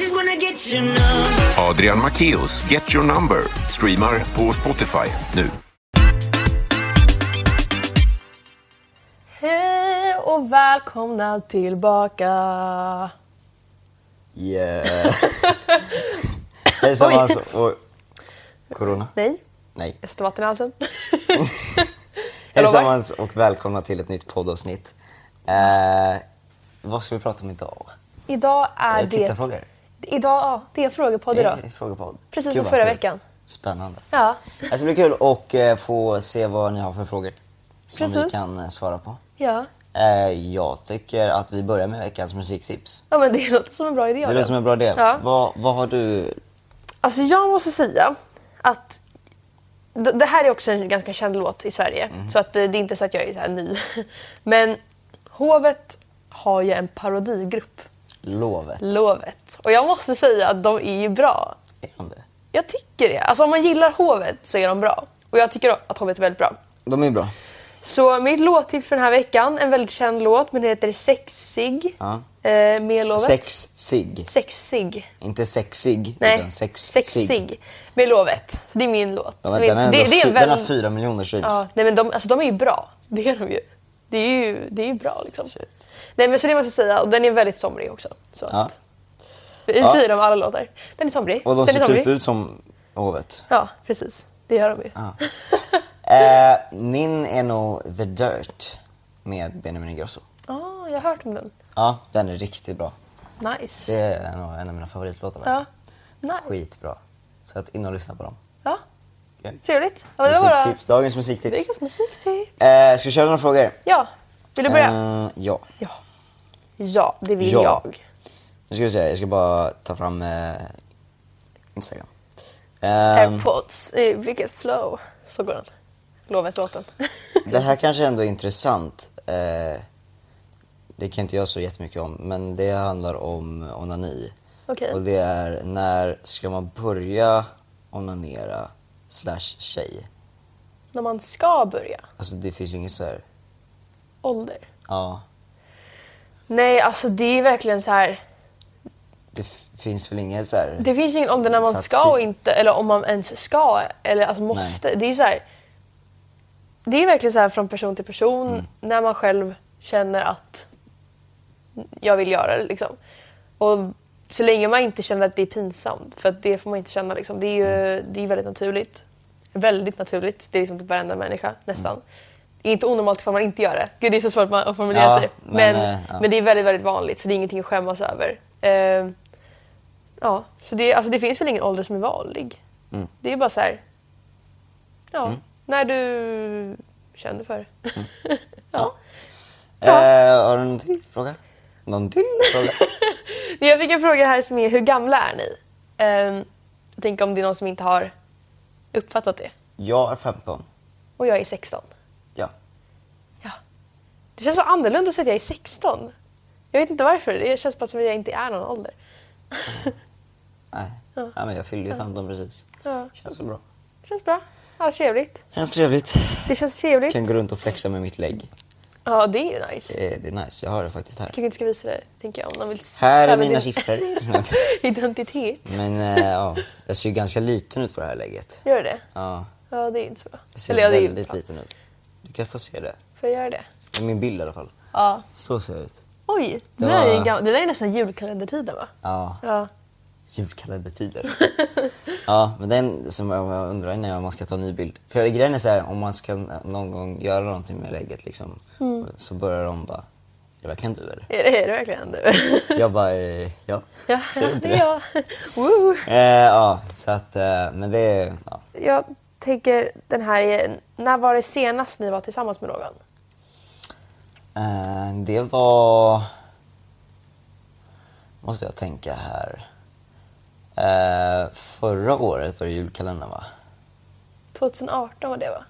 just wanna get you now. Adrian Macchios Get Your Number streamar på Spotify nu. Hej och välkomna tillbaka. Yeah. Hejsan Oj. Hans och... Corona? Nej, Nej. jag sätter vatten i halsen. lovar. Hejsan Hans och välkomna till ett nytt poddavsnitt. Eh, vad ska vi prata om idag? Idag är Eh, det... tittarfrågor? Idag, ja, det är frågepodd idag. Eh, Frågepodd. Precis Kul, som va? förra Kul. veckan. Spännande. Ja, Alltså, det blir kul att eh, få se vad ni har för frågor som vi Precis. kan eh, svara på. ja. Eh, jag tycker att vi börjar med veckans musiktips. ja men det låter som en bra idé. Det låter Adam. som en bra idé. Ja. Vad, vad har du... Alltså jag måste säga att d- det här är också en ganska känd låt i Sverige. Mhm. Så att eh, det är inte så att jag är så här ny. Men Hovet har ju en parodigrupp, Lovet? Lovet. Och jag måste säga att de är ju bra. Är de det? Jag tycker det. Alltså om man gillar Hovet så är de bra. Och jag tycker att Hovet är väldigt bra. De är bra. Så mitt låttips för den här veckan, en väldigt känd låt, men den heter Sexig. Ja. Eh, med Lovet. Sex sig. Sexig. Inte sexig, Nej, utan sex sig. Sexig. Med Lovet. Så det är min låt. Det- Ja, men den, är ändå det- det är fy- en den har väl- fyra miljoner streams. Ja, nej, men de, alltså, de är ju bra. Det är de ju. Det är ju, det är ju bra liksom. Shit. Nej men så det måste jag säga. Och den är väldigt somrig också. Så Ja. att, vi säger det om alla låtar. Den är somrig. Och de den är ser somrig. typ ut som hovet. Ja, precis. Det gör de ju. Eh, min är nog The Dirt med Benjamin Ingrosso. Ah, jag har hört om den. Ja, den är riktigt bra. Nice. Det är nog en av mina favoritlåtar. Ja. verkligen. Nice. Skitbra. Så att in och lyssna på dem. Ja. Okej. Trevligt. Ja, det var bara Musiktips, dagens musiktips. veckans musiktips. Eh, ska vi köra några frågor? Ja. Vill du börja? Eh, ja. Ja. Ja, det vill Ja. jag. Nu ska vi se, jag ska bara ta fram eh, Instagram. Ehm, Airpods. Eh, Vilket flow. Så går den. Lovet-låten. Det här kanske ändå är intressant. Eh, det kan inte jag så jättemycket om, men det handlar om onani. Okej. Och det är när ska man börja onanera slash tjej? När man ska börja. Alltså det finns ju inget så här. Ålder. Ja, Nej, alltså det är verkligen så här. det f- finns väl inget så här. Det finns ingen ålder när man satt ska och tid. inte, eller om man ens ska, eller alltså måste. Det är så här. Det är verkligen så här från person till person Mm. när man själv känner att jag vill göra det liksom. Och så länge man inte känner att det är pinsamt, för att det får man inte känna liksom. Det är Mm. ju det är väldigt naturligt. Väldigt naturligt. Det är liksom typ varenda människa nästan. Mm. Det är inte onormalt ifall man inte gör det. Gud, det är så svårt att formulera Ja, sig. Men, men, men, eh, ja. det är väldigt, väldigt vanligt så det är ingenting att skämmas över. Eh, Ja, så det, alltså det finns väl ingen ålder som är vanlig. Mm. Det är bara så här... Ja, när du känner för det. Mm. ja. Eh, har du någon till fråga? Någon till fråga? Jag fick en fråga här som är hur gamla är ni? Ehm, jag tänker om det är någon som inte har uppfattat det. Jag är 15. Och jag är 16. Ja. Ja. Det känns så annorlunda att säga att jag är 16. Jag vet inte varför. Det känns bara som att jag inte är någon ålder. Nej. Ja. men jag fyllde ju 15 precis. Ja. Känns så bra. Det känns bra. Ja, trevligt. Känns trevligt. Det känns trevligt. Kan gå runt och flexa med mitt lägg. Ja, det är ju nice. Eh, det är nice, jag har det faktiskt här. kanske inte ska visa det, tänker jag. Om de vill Här ställa är mina din- siffror. Identitet. Men eh, ja, jag ser ju ganska liten ut på det här läget. Gör det? Ja, Ja, det är inte så bra. jag ser ja, det är ju- väldigt liten ut. Du kan få se det. Får jag göra det? I min bild i alla fall. Ja. Så ser jag ut. Oj, det, Det där är, ju var- gam- det där är nästan julkalendertiden va? Ja, Ja. julkalendertider. ja, men den som jag jag undrar när man ska ta en ny bild. För grejen är så här, om man ska någon gång göra någonting med lägget liksom, Mm. så börjar de bara, är det verkligen du eller? Är det, är det verkligen du? Jag bara, eh, ja. ja, Ser du inte det är jag. Woo. Eh, ja, så att, eh, men det är, ja. Jag tänker den här är, när var det senast ni var tillsammans med någon? Eh, Det var... Måste jag tänka här. Eh, förra året var det julkalendern va? 2018 var det va?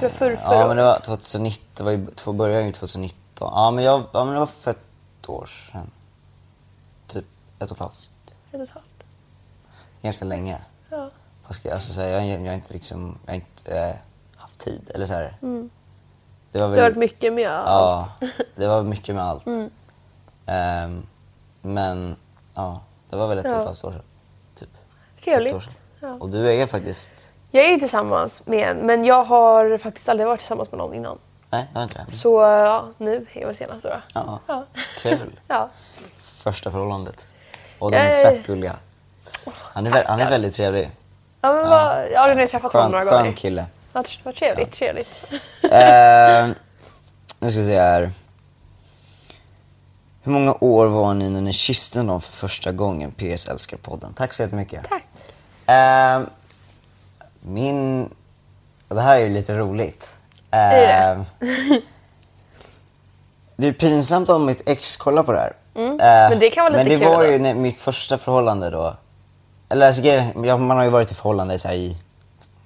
Det var förr, förra Ja men det året. var 2019, det var ju, två- började ju 2019. Ja men, jag, ja men det var för ett år sedan. Typ ett och ett halvt. Ett och ett halvt. Ganska länge. Ja. Vad ska jag, alltså, så här, jag, jag har inte liksom, jag har inte eh, haft tid eller så här. Det var Det Mm. har varit mycket med Ja, allt. Mm. det var mycket med allt. Ehm, men Ja, det var väl ett Ja. och ett halvt år sedan. Typ. Ett år Trevligt. sedan. Ja. Och du är faktiskt... Jag är ju tillsammans med en, men jag har faktiskt aldrig varit tillsammans med någon innan. Nej, det har inte det. Så ja, nu är väl senast då. då. Ja. Ja. Kul. Ja. Första förhållandet. Och de är Yay. fett gulliga. Han är, vä- han är väldigt trevlig. Ja, men vad, ja, nu har jag träffat honom Skön, några skön gånger. kille. Vad tr- vad trevligt, trevligt. Eh, nu ska vi se här. Hur många år var ni när ni kysste någon för första gången? PS älskar podden. Tack så jättemycket. Tack. Ehm, min... Det här är ju lite roligt. Är Ehm, det är pinsamt om mitt ex kollar på det här. Ehm, Mm. men det kan vara lite Men det kul var ju ändå. när- mitt första förhållande då. Eller alltså, grejen- ja, man har ju varit i förhållande så här i...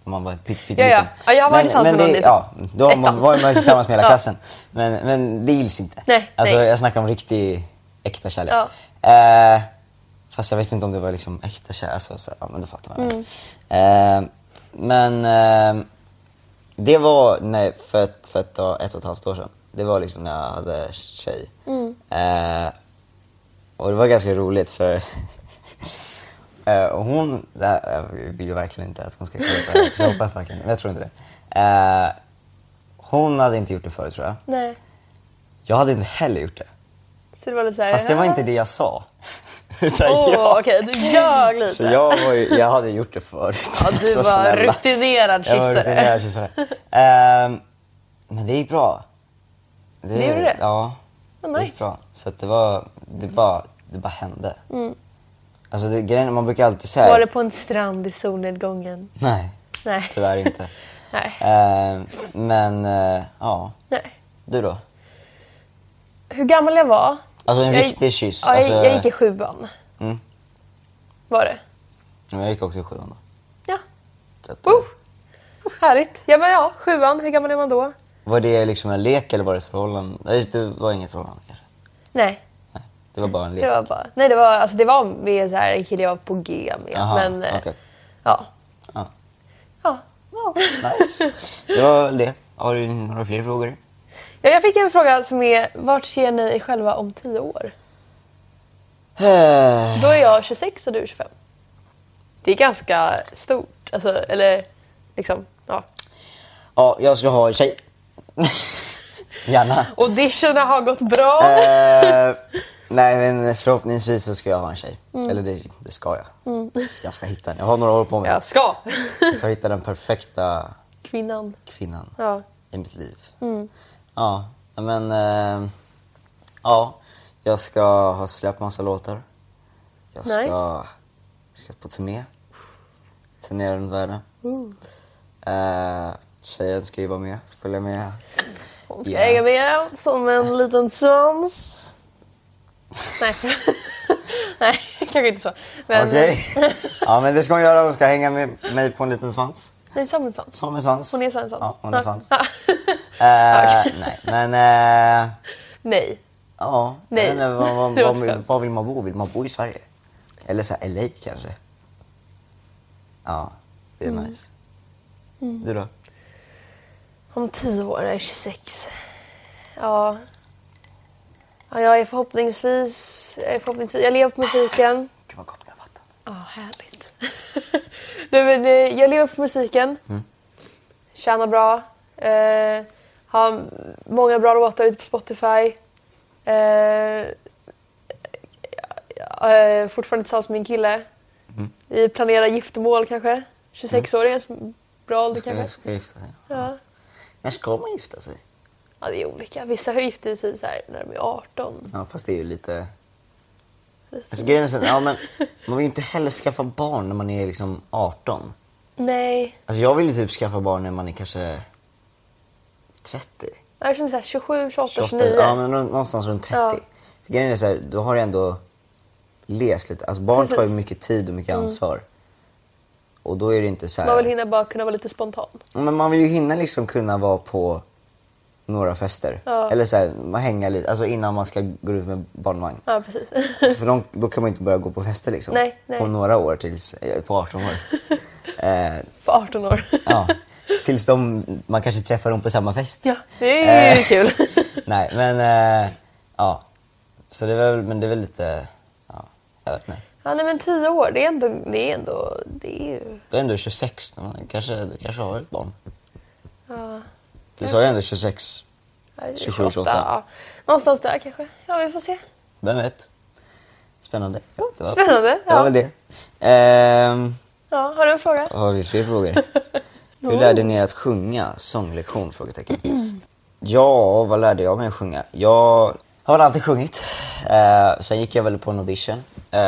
När man var pytt, pytt, Ja, ja. liten. Ja, jag har varit Men- tillsammans men med någon det- liten. Ja, då har man, Ettan. var man tillsammans med hela Ja. klassen. Men, men det gills inte. Nej, alltså, nej. Jag snackar om riktig, äkta kärlek. Ja. Eh, fast jag vet inte om det var liksom äkta kärlek. Alltså, så, ja, men du fattar vad jag menar. Eh, men eh, det var nej, för, ett, för ett, ett och ett halvt år sedan. Det var liksom när jag hade tjej. Eh, och det var ganska roligt för eh, och hon, det här, jag vill ju verkligen inte att hon ska kolla på det här, så jag hoppas verkligen men jag tror inte det. Eh, hon hade inte gjort det förut tror jag. Nej. Jag hade inte heller gjort det. Så det var lite så här, Fast det var inte det jag sa. Utan Åh, jag- okej, du ljög lite. Så jag, var ju, jag hade gjort det förut. ja, du Så var snälla. rutinerad Jag var kyssare. rutinerad kyssare. Ehm, men det gick bra. Det, Det gjorde det? Ja. Vad Det gick nice. bra. Så att det var, det bara, det bara hände. Alltså det, grejen är, man brukar alltid säga... Mm. Var det på en strand i solnedgången? Nej, Nej. tyvärr inte. Nej. Ehm, men, eh, ja. Nej. Du då? Hur gammal jag var? Alltså en jag, riktig kyss. Ja, jag, alltså, jag gick i sjuan. Mm. Var det? jag gick också i sjuan då. Ja. Så att- Oh. Härligt. Ja, men ja, sjuan. Hur gammal är man då? Var det liksom en lek eller var det ett förhållande? Nej, just det det var inget förhållande kanske. Nej, Nej, det var bara en lek. det var bara... Nej, det var, alltså, det var med så här, en kille jag var på G med. Aha, men eh, okej. ja. Ja. ja. Nice. Det var väl det. Har du några fler frågor? Ja, Jag fick en fråga som är, vart ser ni er själva om tio år? Eh, Då är jag 26 och du är 25. Det är ganska stort. Alltså, eller liksom, ja. Ja, jag ska ha en tjej. Gärna. Auditionerna har gått bra. Eh, nej men förhoppningsvis så ska jag ha en tjej. Eller det, det ska jag. Mm. Jag, ska, jag ska hitta den. Jag har några år på mig. Jag ska. Jag ska hitta den perfekta Kvinnan. kvinnan Ja. i mitt liv. Mm. Ja, men... Eh, ja, jag ska ha släppt massa låtar. Jag ska, Nice. ska på turné. Turnera runt världen. Mm. Eh, tjejen ska ju vara med, följa med. Hon ska Ja. hänga med som en liten svans. Nej, Nej kanske inte så. Men Okej? ja, men det ska hon göra. Hon ska hänga med mig på en liten svans. nej, som en svans. Som en svans. Hon är som en svans. Ja, hon är svans. Ja. Eh, nej, men... Eh, nej. Ja, Nej. jag vet inte, vad, vad, Det var ett vad, skämt. vad vill man bo? Vill man bo i Sverige? Eller så här, LA kanske? Ja, det är nice. Du då? Om tio år är jag 26. Ja. ja jag är förhoppningsvis... Jag, är förhoppningsvis, jag lever på musiken. Gud vad gott med vatten. Ja, härligt. Nej, men, eh, jag lever på musiken. Mm. Tjänar bra. Eh, har många bra låtar ute på Spotify. Eh, jag är eh, fortfarande tillsammans med min kille. Mm. Vi planerar giftermål kanske. 26-åringar, mm. bra ålder Ska, jag kanske. ska gifta sig? Ja. När ska man gifta sig? ja, det är olika. Vissa gifter sig så här när de är 18. Ja, fast det är ju lite... Alltså, grejen är så, ja, men, man vill ju inte heller skaffa barn när man är liksom 18. Nej, Alltså, jag vill ju typ skaffa barn när man är kanske 30. jag känner så här 27, 28, 28, 29. ja, men nå- någonstans runt 30. Ja. För grejen är så här, då har du ändå levt lite. Alltså barn tar ju Precis. Mm. mycket tid och mycket ansvar. Och då är det inte så här... Man vill hinna bara kunna vara lite spontan. Men man vill ju hinna liksom kunna vara på några fester. Ja. Eller så här, man hänga lite. Alltså innan man ska gå ut med barnvagn. Ja, precis. För de, då kan man ju inte börja gå på fester liksom. Nej, nej. På några år tills, eh, på 18 år. eh, På 18 år. ja. Tills de, man kanske träffar dem på samma fest. Ja, det är ju Eh. kul. Nej, men eh, ja. Så det var väl, men det är väl lite, ja, Jag vet inte. Ja, nej, men tio år, det är ändå... Det är ändå det är ju... Du är ändå 26 när man kanske, du kanske har ett barn. Du sa ju ändå 26. ja, det är 27, 28. Ja. Någonstans där kanske. Ja, vi får se. Vem vet? Spännande. Det var, Spännande. Det var väl Ja. det. Ehm, ja, har du en fråga? Har vi fler frågor? Hur lärde ni er att sjunga? Sånglektion? Frågetecken. Ja, vad lärde jag mig att sjunga? Jag har väl alltid sjungit. Eh, sen gick jag väl på en audition. Eh,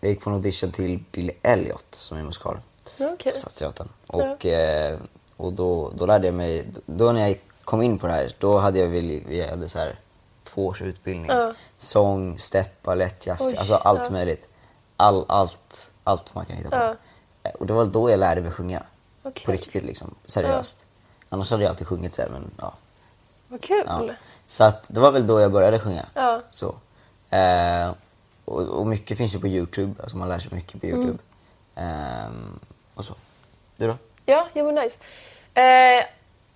jag gick på en audition till Billy Elliot som är musikal Ja, Okej. på Stadsteatern. Och, eh, och då, då lärde jag mig, då när jag kom in på det här, då hade jag, väl, jag hade så här, två års utbildning. Ja. Sång, stepp, balett, jazz, Oj, alltså allt ja. möjligt. All, allt, allt man kan hitta på. Ja. Eh, Och det var då jag lärde mig sjunga. Okej. På riktigt liksom, seriöst. Annars hade jag alltid sjungit så här, men ja. Vad kul. Ja. Så att det var väl då jag började sjunga. Ja. Så. Eh, och, och mycket finns ju på Youtube, alltså man lär sig mycket Mm. på Youtube. Ehm, och så. Du då? Ja, jo men nice. Eh,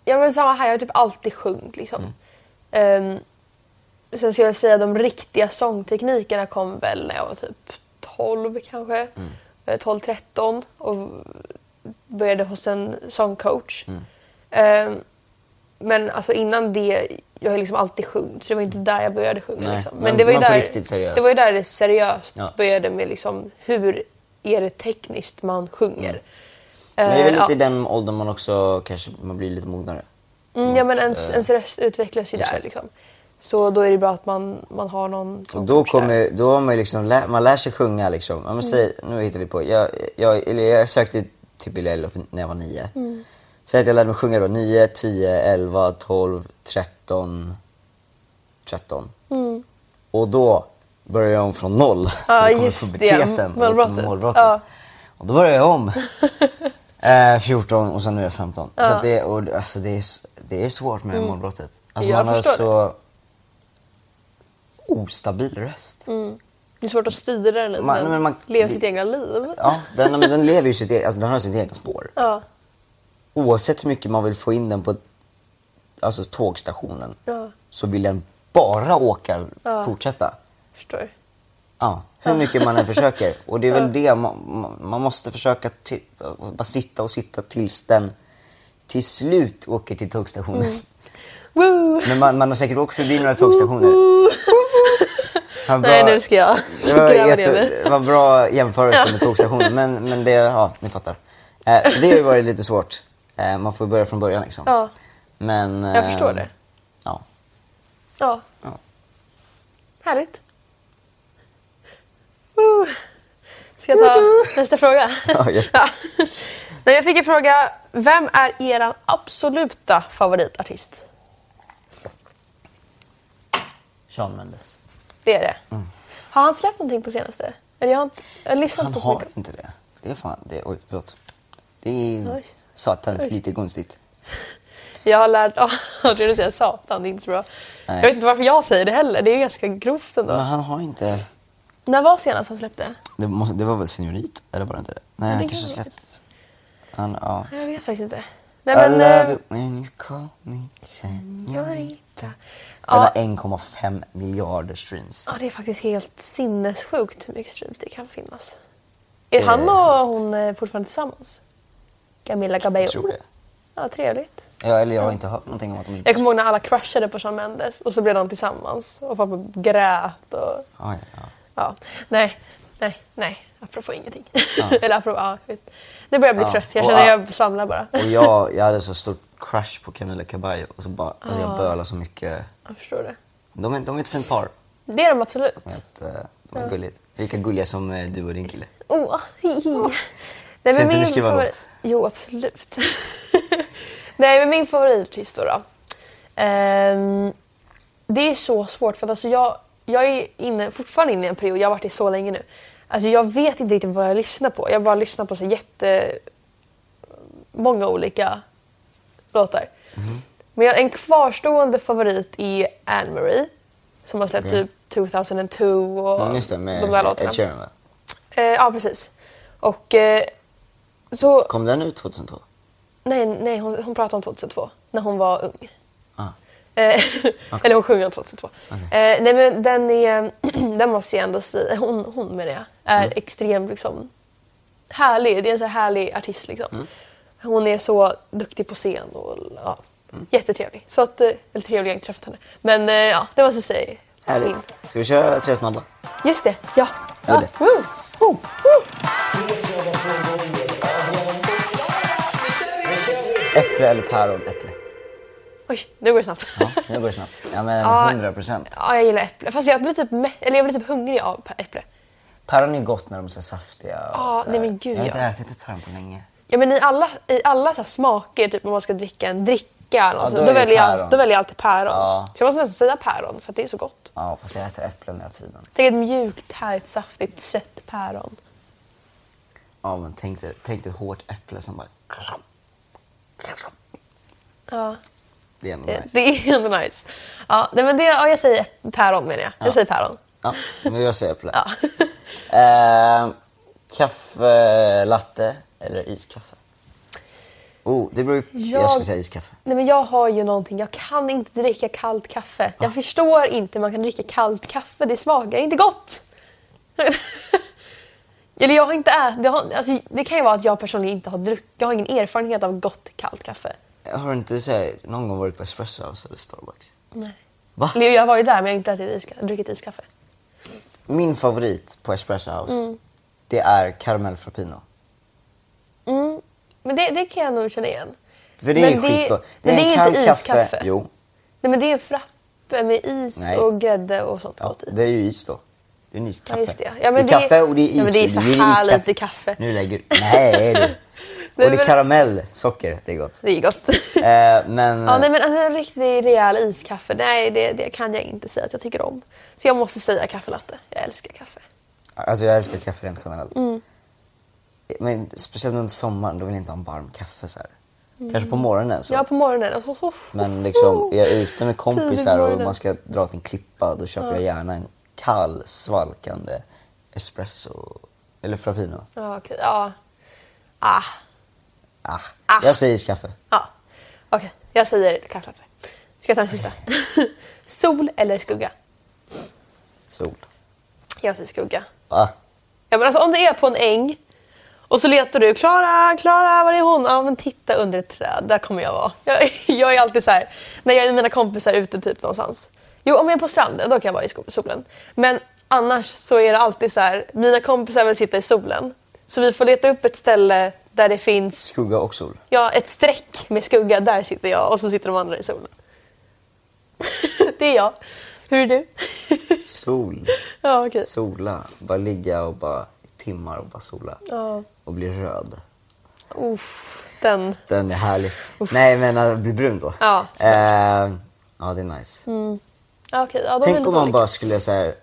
ja men samma här, jag har typ alltid sjungit Mm. liksom. Ehm, sen skulle jag säga de riktiga sångteknikerna kom väl när jag var typ 12 kanske. Mm. Eller 12-13 och började hos en sångcoach. Mm. Ehm, men alltså innan det, jag har liksom alltid sjungit så det var inte där jag började sjunga. Nej, liksom. men- det var ju men på där, riktigt seriöst. Det var ju där det seriöst Ja. började med liksom hur är det tekniskt man sjunger. Mm. Men det är väl Eh, lite ja. i den åldern man också kanske man blir lite mognare. Mm, ja men Och, ens, eh, ens röst utvecklas ju där exakt. liksom. Så då är det bra att man, man har någon Och som då coachar. kommer, då har man ju liksom, lä- man lär sig sjunga liksom. Mm. Ja, men säg, nu hittar vi på, jag, jag, eller jag sökte till Billy Elliot när jag var nio. Mm. Säg att jag lärde mig sjunga då, 9, 10, 11, 12, 13, 13. Och då börjar jag om från noll. Mm. Ja, Då kommer just det. puberteten och Målbrottet. målbrottet. Ja. Och då börjar jag om. Eh, 14 och sen nu är jag 15. Så Ja. Mm. att det, och, alltså, det, är, s- det är svårt med målbrottet. Alltså, Jag man har förstår så ostabil röst. Mm. Det är svårt att styra den lite. Man- Man, men man- Leva det- sitt egna liv. Ja, den, men den lever ju sitt eget, alltså, den har sitt eget spår. Ja. Oavsett hur mycket man vill få in den på alltså, tågstationen Ja. så vill den bara åka, Ja. fortsätta. Förstår. Ja, hur mycket man än försöker. Och det är väl det, man, man- man måste försöka till, bara sitta och sitta tills den till slut åker till tågstationen. Mm. Woo! Men man, man har säkert åkt förbi några tågstationer. Vad bra- Nej nu ska jag Det var, gräva ner mig. jätte, var bra jämförelse med tågstationen, men, men det, ja, ni fattar. Eh, så det har ju varit lite svårt. Eh, man får börja från början liksom. Ja. Men, Jag eh, förstår det. Ja. Ja. Ja. Härligt. Woo! Ska jag ta nästa fråga? Ja, ja. Nej, jag fick en fråga. Vem är er absoluta favoritartist? Sean Mendes. Det är det. Mm. Har han släppt någonting på senaste? Eller jag har inte jag har lyssnat Han på så har mycket. inte det. Det är fan, det, oj förlåt. Det är Oj. satans lite konstigt. Jag har lärt... Ja, det är att säga satan, det är inte så bra. Nej. Jag vet inte varför jag säger det heller. Det är ganska grovt ändå. Men han har inte, När var senast han släppte? det, måste, det var väl Senorita, eller var det inte det? Nej, han kanske har kan- släppt. Han, ja. Jag vet faktiskt inte. Nej, I men... love eh, it when you call me senorita. Senorita. Den har Ja, 1,5 miljarder streams. ja, det är faktiskt helt sinnessjukt hur mycket streams det kan finnas. Är han och hon eh, fortfarande tillsammans? Camilla Cabello? Jag tror det. Ja, trevligt. Ja, eller jag har inte hört någonting om att de inte... Jag kommer ihåg när alla crushade på Shawn Mendes och så blev de tillsammans och pappa grät och... Ah, ja, ja. Ja, nej, nej, nej. Apropå ingenting. Eller apropå, ja. jag vet. Nu börjar jag bli Ja, trött. Jag och, känner att ja. jag svamlar bara. Och jag, jag hade så stort crush på Camila Cabello och så bara, alltså Ah. jag bölade så mycket. Jag förstår det. De är, de är ett fint par. Det är de absolut. Men Att, eh, de är gulligt. Lika gulliga som eh, du och din kille. Åh, hihi. Nej, Ska inte du skriva favorit- något? Jo, absolut. Nej, men min favoritartist då. då. Ehm, det är så svårt för att alltså jag, jag är inne, fortfarande inne i en period, jag har varit i så länge nu. Alltså jag vet inte riktigt vad jag lyssnar på. Jag bara lyssnar på så jätte många olika låtar. Mm-hmm. Men jag, en kvarstående favorit är Anne Marie som har släppt Okej. typ 2002 och Mm, just det, med de där låtarna. Ed Sheeran va? Eh, ja, precis. Och eh, så... Kom den ut 2002? Nej, nej hon, hon pratade om 2002, när hon var ung. Ah. Eh, Eller hon sjunger 2002. Eh, nej men den är, den måste jag ändå säga, hon, hon menar jag, är Mm. extremt liksom härlig. Det är en så här härlig artist liksom. Mm. Hon är så duktig på scen och ja, Mm. jättetrevlig. Så att, eh, eller trevlig, jag har inte träffat henne. Men eh, ja, det var så att säga. Härligt. Ska vi köra tre snabba? Just det, ja. Gör ja. det. Woo. Woo. Äpple eller päron? Äpple. Oj, nu går det snabbt. Ja, det går snabbt. Ja men Ja. 100 procent. Ja, jag gillar äpple. Fast jag blir typ, mä- eller jag blir typ hungrig av p- äpple. Päron är gott när de är så saftiga. och Ja, sådär. nej men gud, Jag har inte ja. ätit ett päron på länge. Ja, men i alla, i alla så här smaker, typ om man ska dricka en dricka eller något, så- då är då, det väljer päron. jag, då väljer jag alltid päron. Ja. Så jag måste nästan säga päron för att det är så gott. Ja, fast jag äter äpplen hela tiden. Tänk ett mjukt, härligt, saftigt, sött päron. Ja, men tänk dig, tänk dig ett hårt äpple som bara... Ja, Det är ändå det, nice. det är ändå nice. Ja, nej, men det, ja, jag säger äpp- päron menar jag. Jag säger päron. Ja, men jag säger äpple. Ja. Eh, kaffe, latte eller iskaffe? Oh, det beror ju... Jag... Jag- skulle säga iskaffe. Nej, men jag har ju någonting, jag kan inte dricka kallt kaffe. Ah. Jag förstår inte hur man kan dricka kallt kaffe, det smakar inte gott. Eller jag har inte ätit, det, har, alltså, det kan ju vara att jag personligen inte har druckit, jag har ingen erfarenhet av gott kallt kaffe. Har du inte så här, någon gång varit på Espresso House eller Starbucks? Nej. Va? Eller jag har varit där men jag har inte ätit iska, druckit iskaffe. Min favorit på Espresso House, det är karamell frappino. Mm. Men det, det kan jag nog känna igen. För det är Men ju skitgott. men det är en inte kall iskaffe. Jo, Nej men det är en frappe med is Nej. och grädde och sånt typ. ja, gott i. det är ju is då. Det är en Ja, iskaffe. just det. Ja, men det är det- kaffe och det är is. Ja, men det är så blir här iskaffe. lite kaffe. Nu lägger Nej, det. Nej, Och det är men- karamell, socker, det är gott. Så det är gott. Eh, men, Ja, nej, men alltså en riktig rejäl iskaffe, nej det, det kan jag inte säga att jag tycker om. Så jag måste säga kaffelatte. Jag älskar kaffe. Alltså jag älskar kaffe rent generellt. Mm. Men speciellt under sommaren, då vill jag inte ha en varm kaffe så här. Kanske på morgonen så. Mm. Ja, på morgonen. Alltså, så, Men liksom, är jag ute med Tidigt på kompisar och morgonen. man ska dra till en klippa, då köper jag gärna en kall, svalkande espresso eller frappino. Ja, okej. Ja. Ah. Ah, Ah. Jag säger iskaffe. Ja. Okej, jag säger kaffelatte. Ska jag ta en sista? Sol eller skugga? Sol. Jag säger skugga. Ah. Ja, men alltså, om du är på en äng och så letar du Klara, Klara, var är hon? Ja, men titta under ett träd, där kommer jag vara. Jag, jag är alltid så här, när jag är med mina kompisar ute typ någonstans. Jo, om jag är på stranden, då kan jag vara i sko- solen. Men annars så är det alltid så här, mina kompisar vill sitta i solen. Så vi får leta upp ett ställe där det finns Skugga och sol. ja, ett streck med skugga, där sitter jag och så sitter de andra i solen. det är jag. Hur är du? Sol. ja, okej. Sola. Bara ligga och bara i timmar och bara sola. Ja. Och bli röd. Uff, den. Den är härlig. Nej men att bli brun då. Ja, Mm. eh, ja det är nice. Ja, okej. Ja, de är Tänk lite om man olika. bara skulle så här,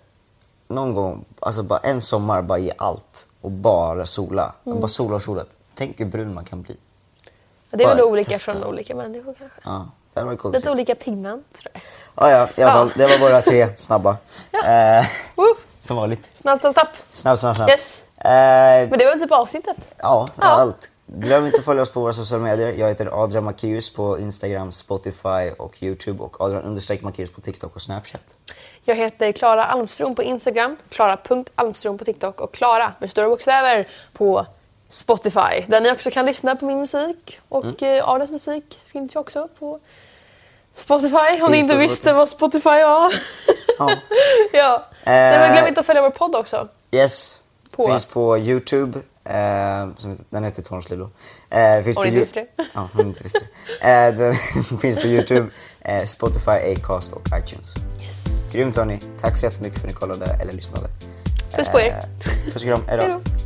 någon gång, alltså bara en sommar bara ge allt och bara sola. Mm. Bara sola och sola. Tänk hur brun man kan bli. Ja, det är väl Bara olika testa. från olika människor kanske. Ja, det hade varit coolt. att Lite se. olika pigment tror jag. Ja, ja, i alla fall. Ja. Det var våra tre snabba. eh, Woo! som vanligt. Snabbt som snabbt. Snabb, snabb, snabb. Yes. Eh, Men det var typ avsnittet. Ja, det var Ja. allt. Glöm inte att följa oss på våra sociala medier. Jag heter Adrian Macéus på Instagram, Spotify och Youtube och Adrian understreck Macéus på TikTok och Snapchat. Jag heter Klara Almström på Instagram, klara.almström på TikTok och Klara med stora bokstäver på Spotify. Där ni också kan lyssna på min musik och mm. Adams musik finns ju också på Spotify om ni inte på visste Spotify. vad Spotify var. Ja. ja. Nej, men glöm Eh. inte att följa vår podd också. Yes, På- finns på Youtube. Eh, som heter, den heter Tornslilo. Eh, finns Om på ni inte Yo- visste det. Ja, om ni inte visste det. Eh, den finns på Youtube, eh, Spotify, Acast och iTunes. Yes. Grymt hörni. Tack så jättemycket för att ni kollade eller lyssnade. Puss på er. Eh, Puss och kram. Hej Hej då. då.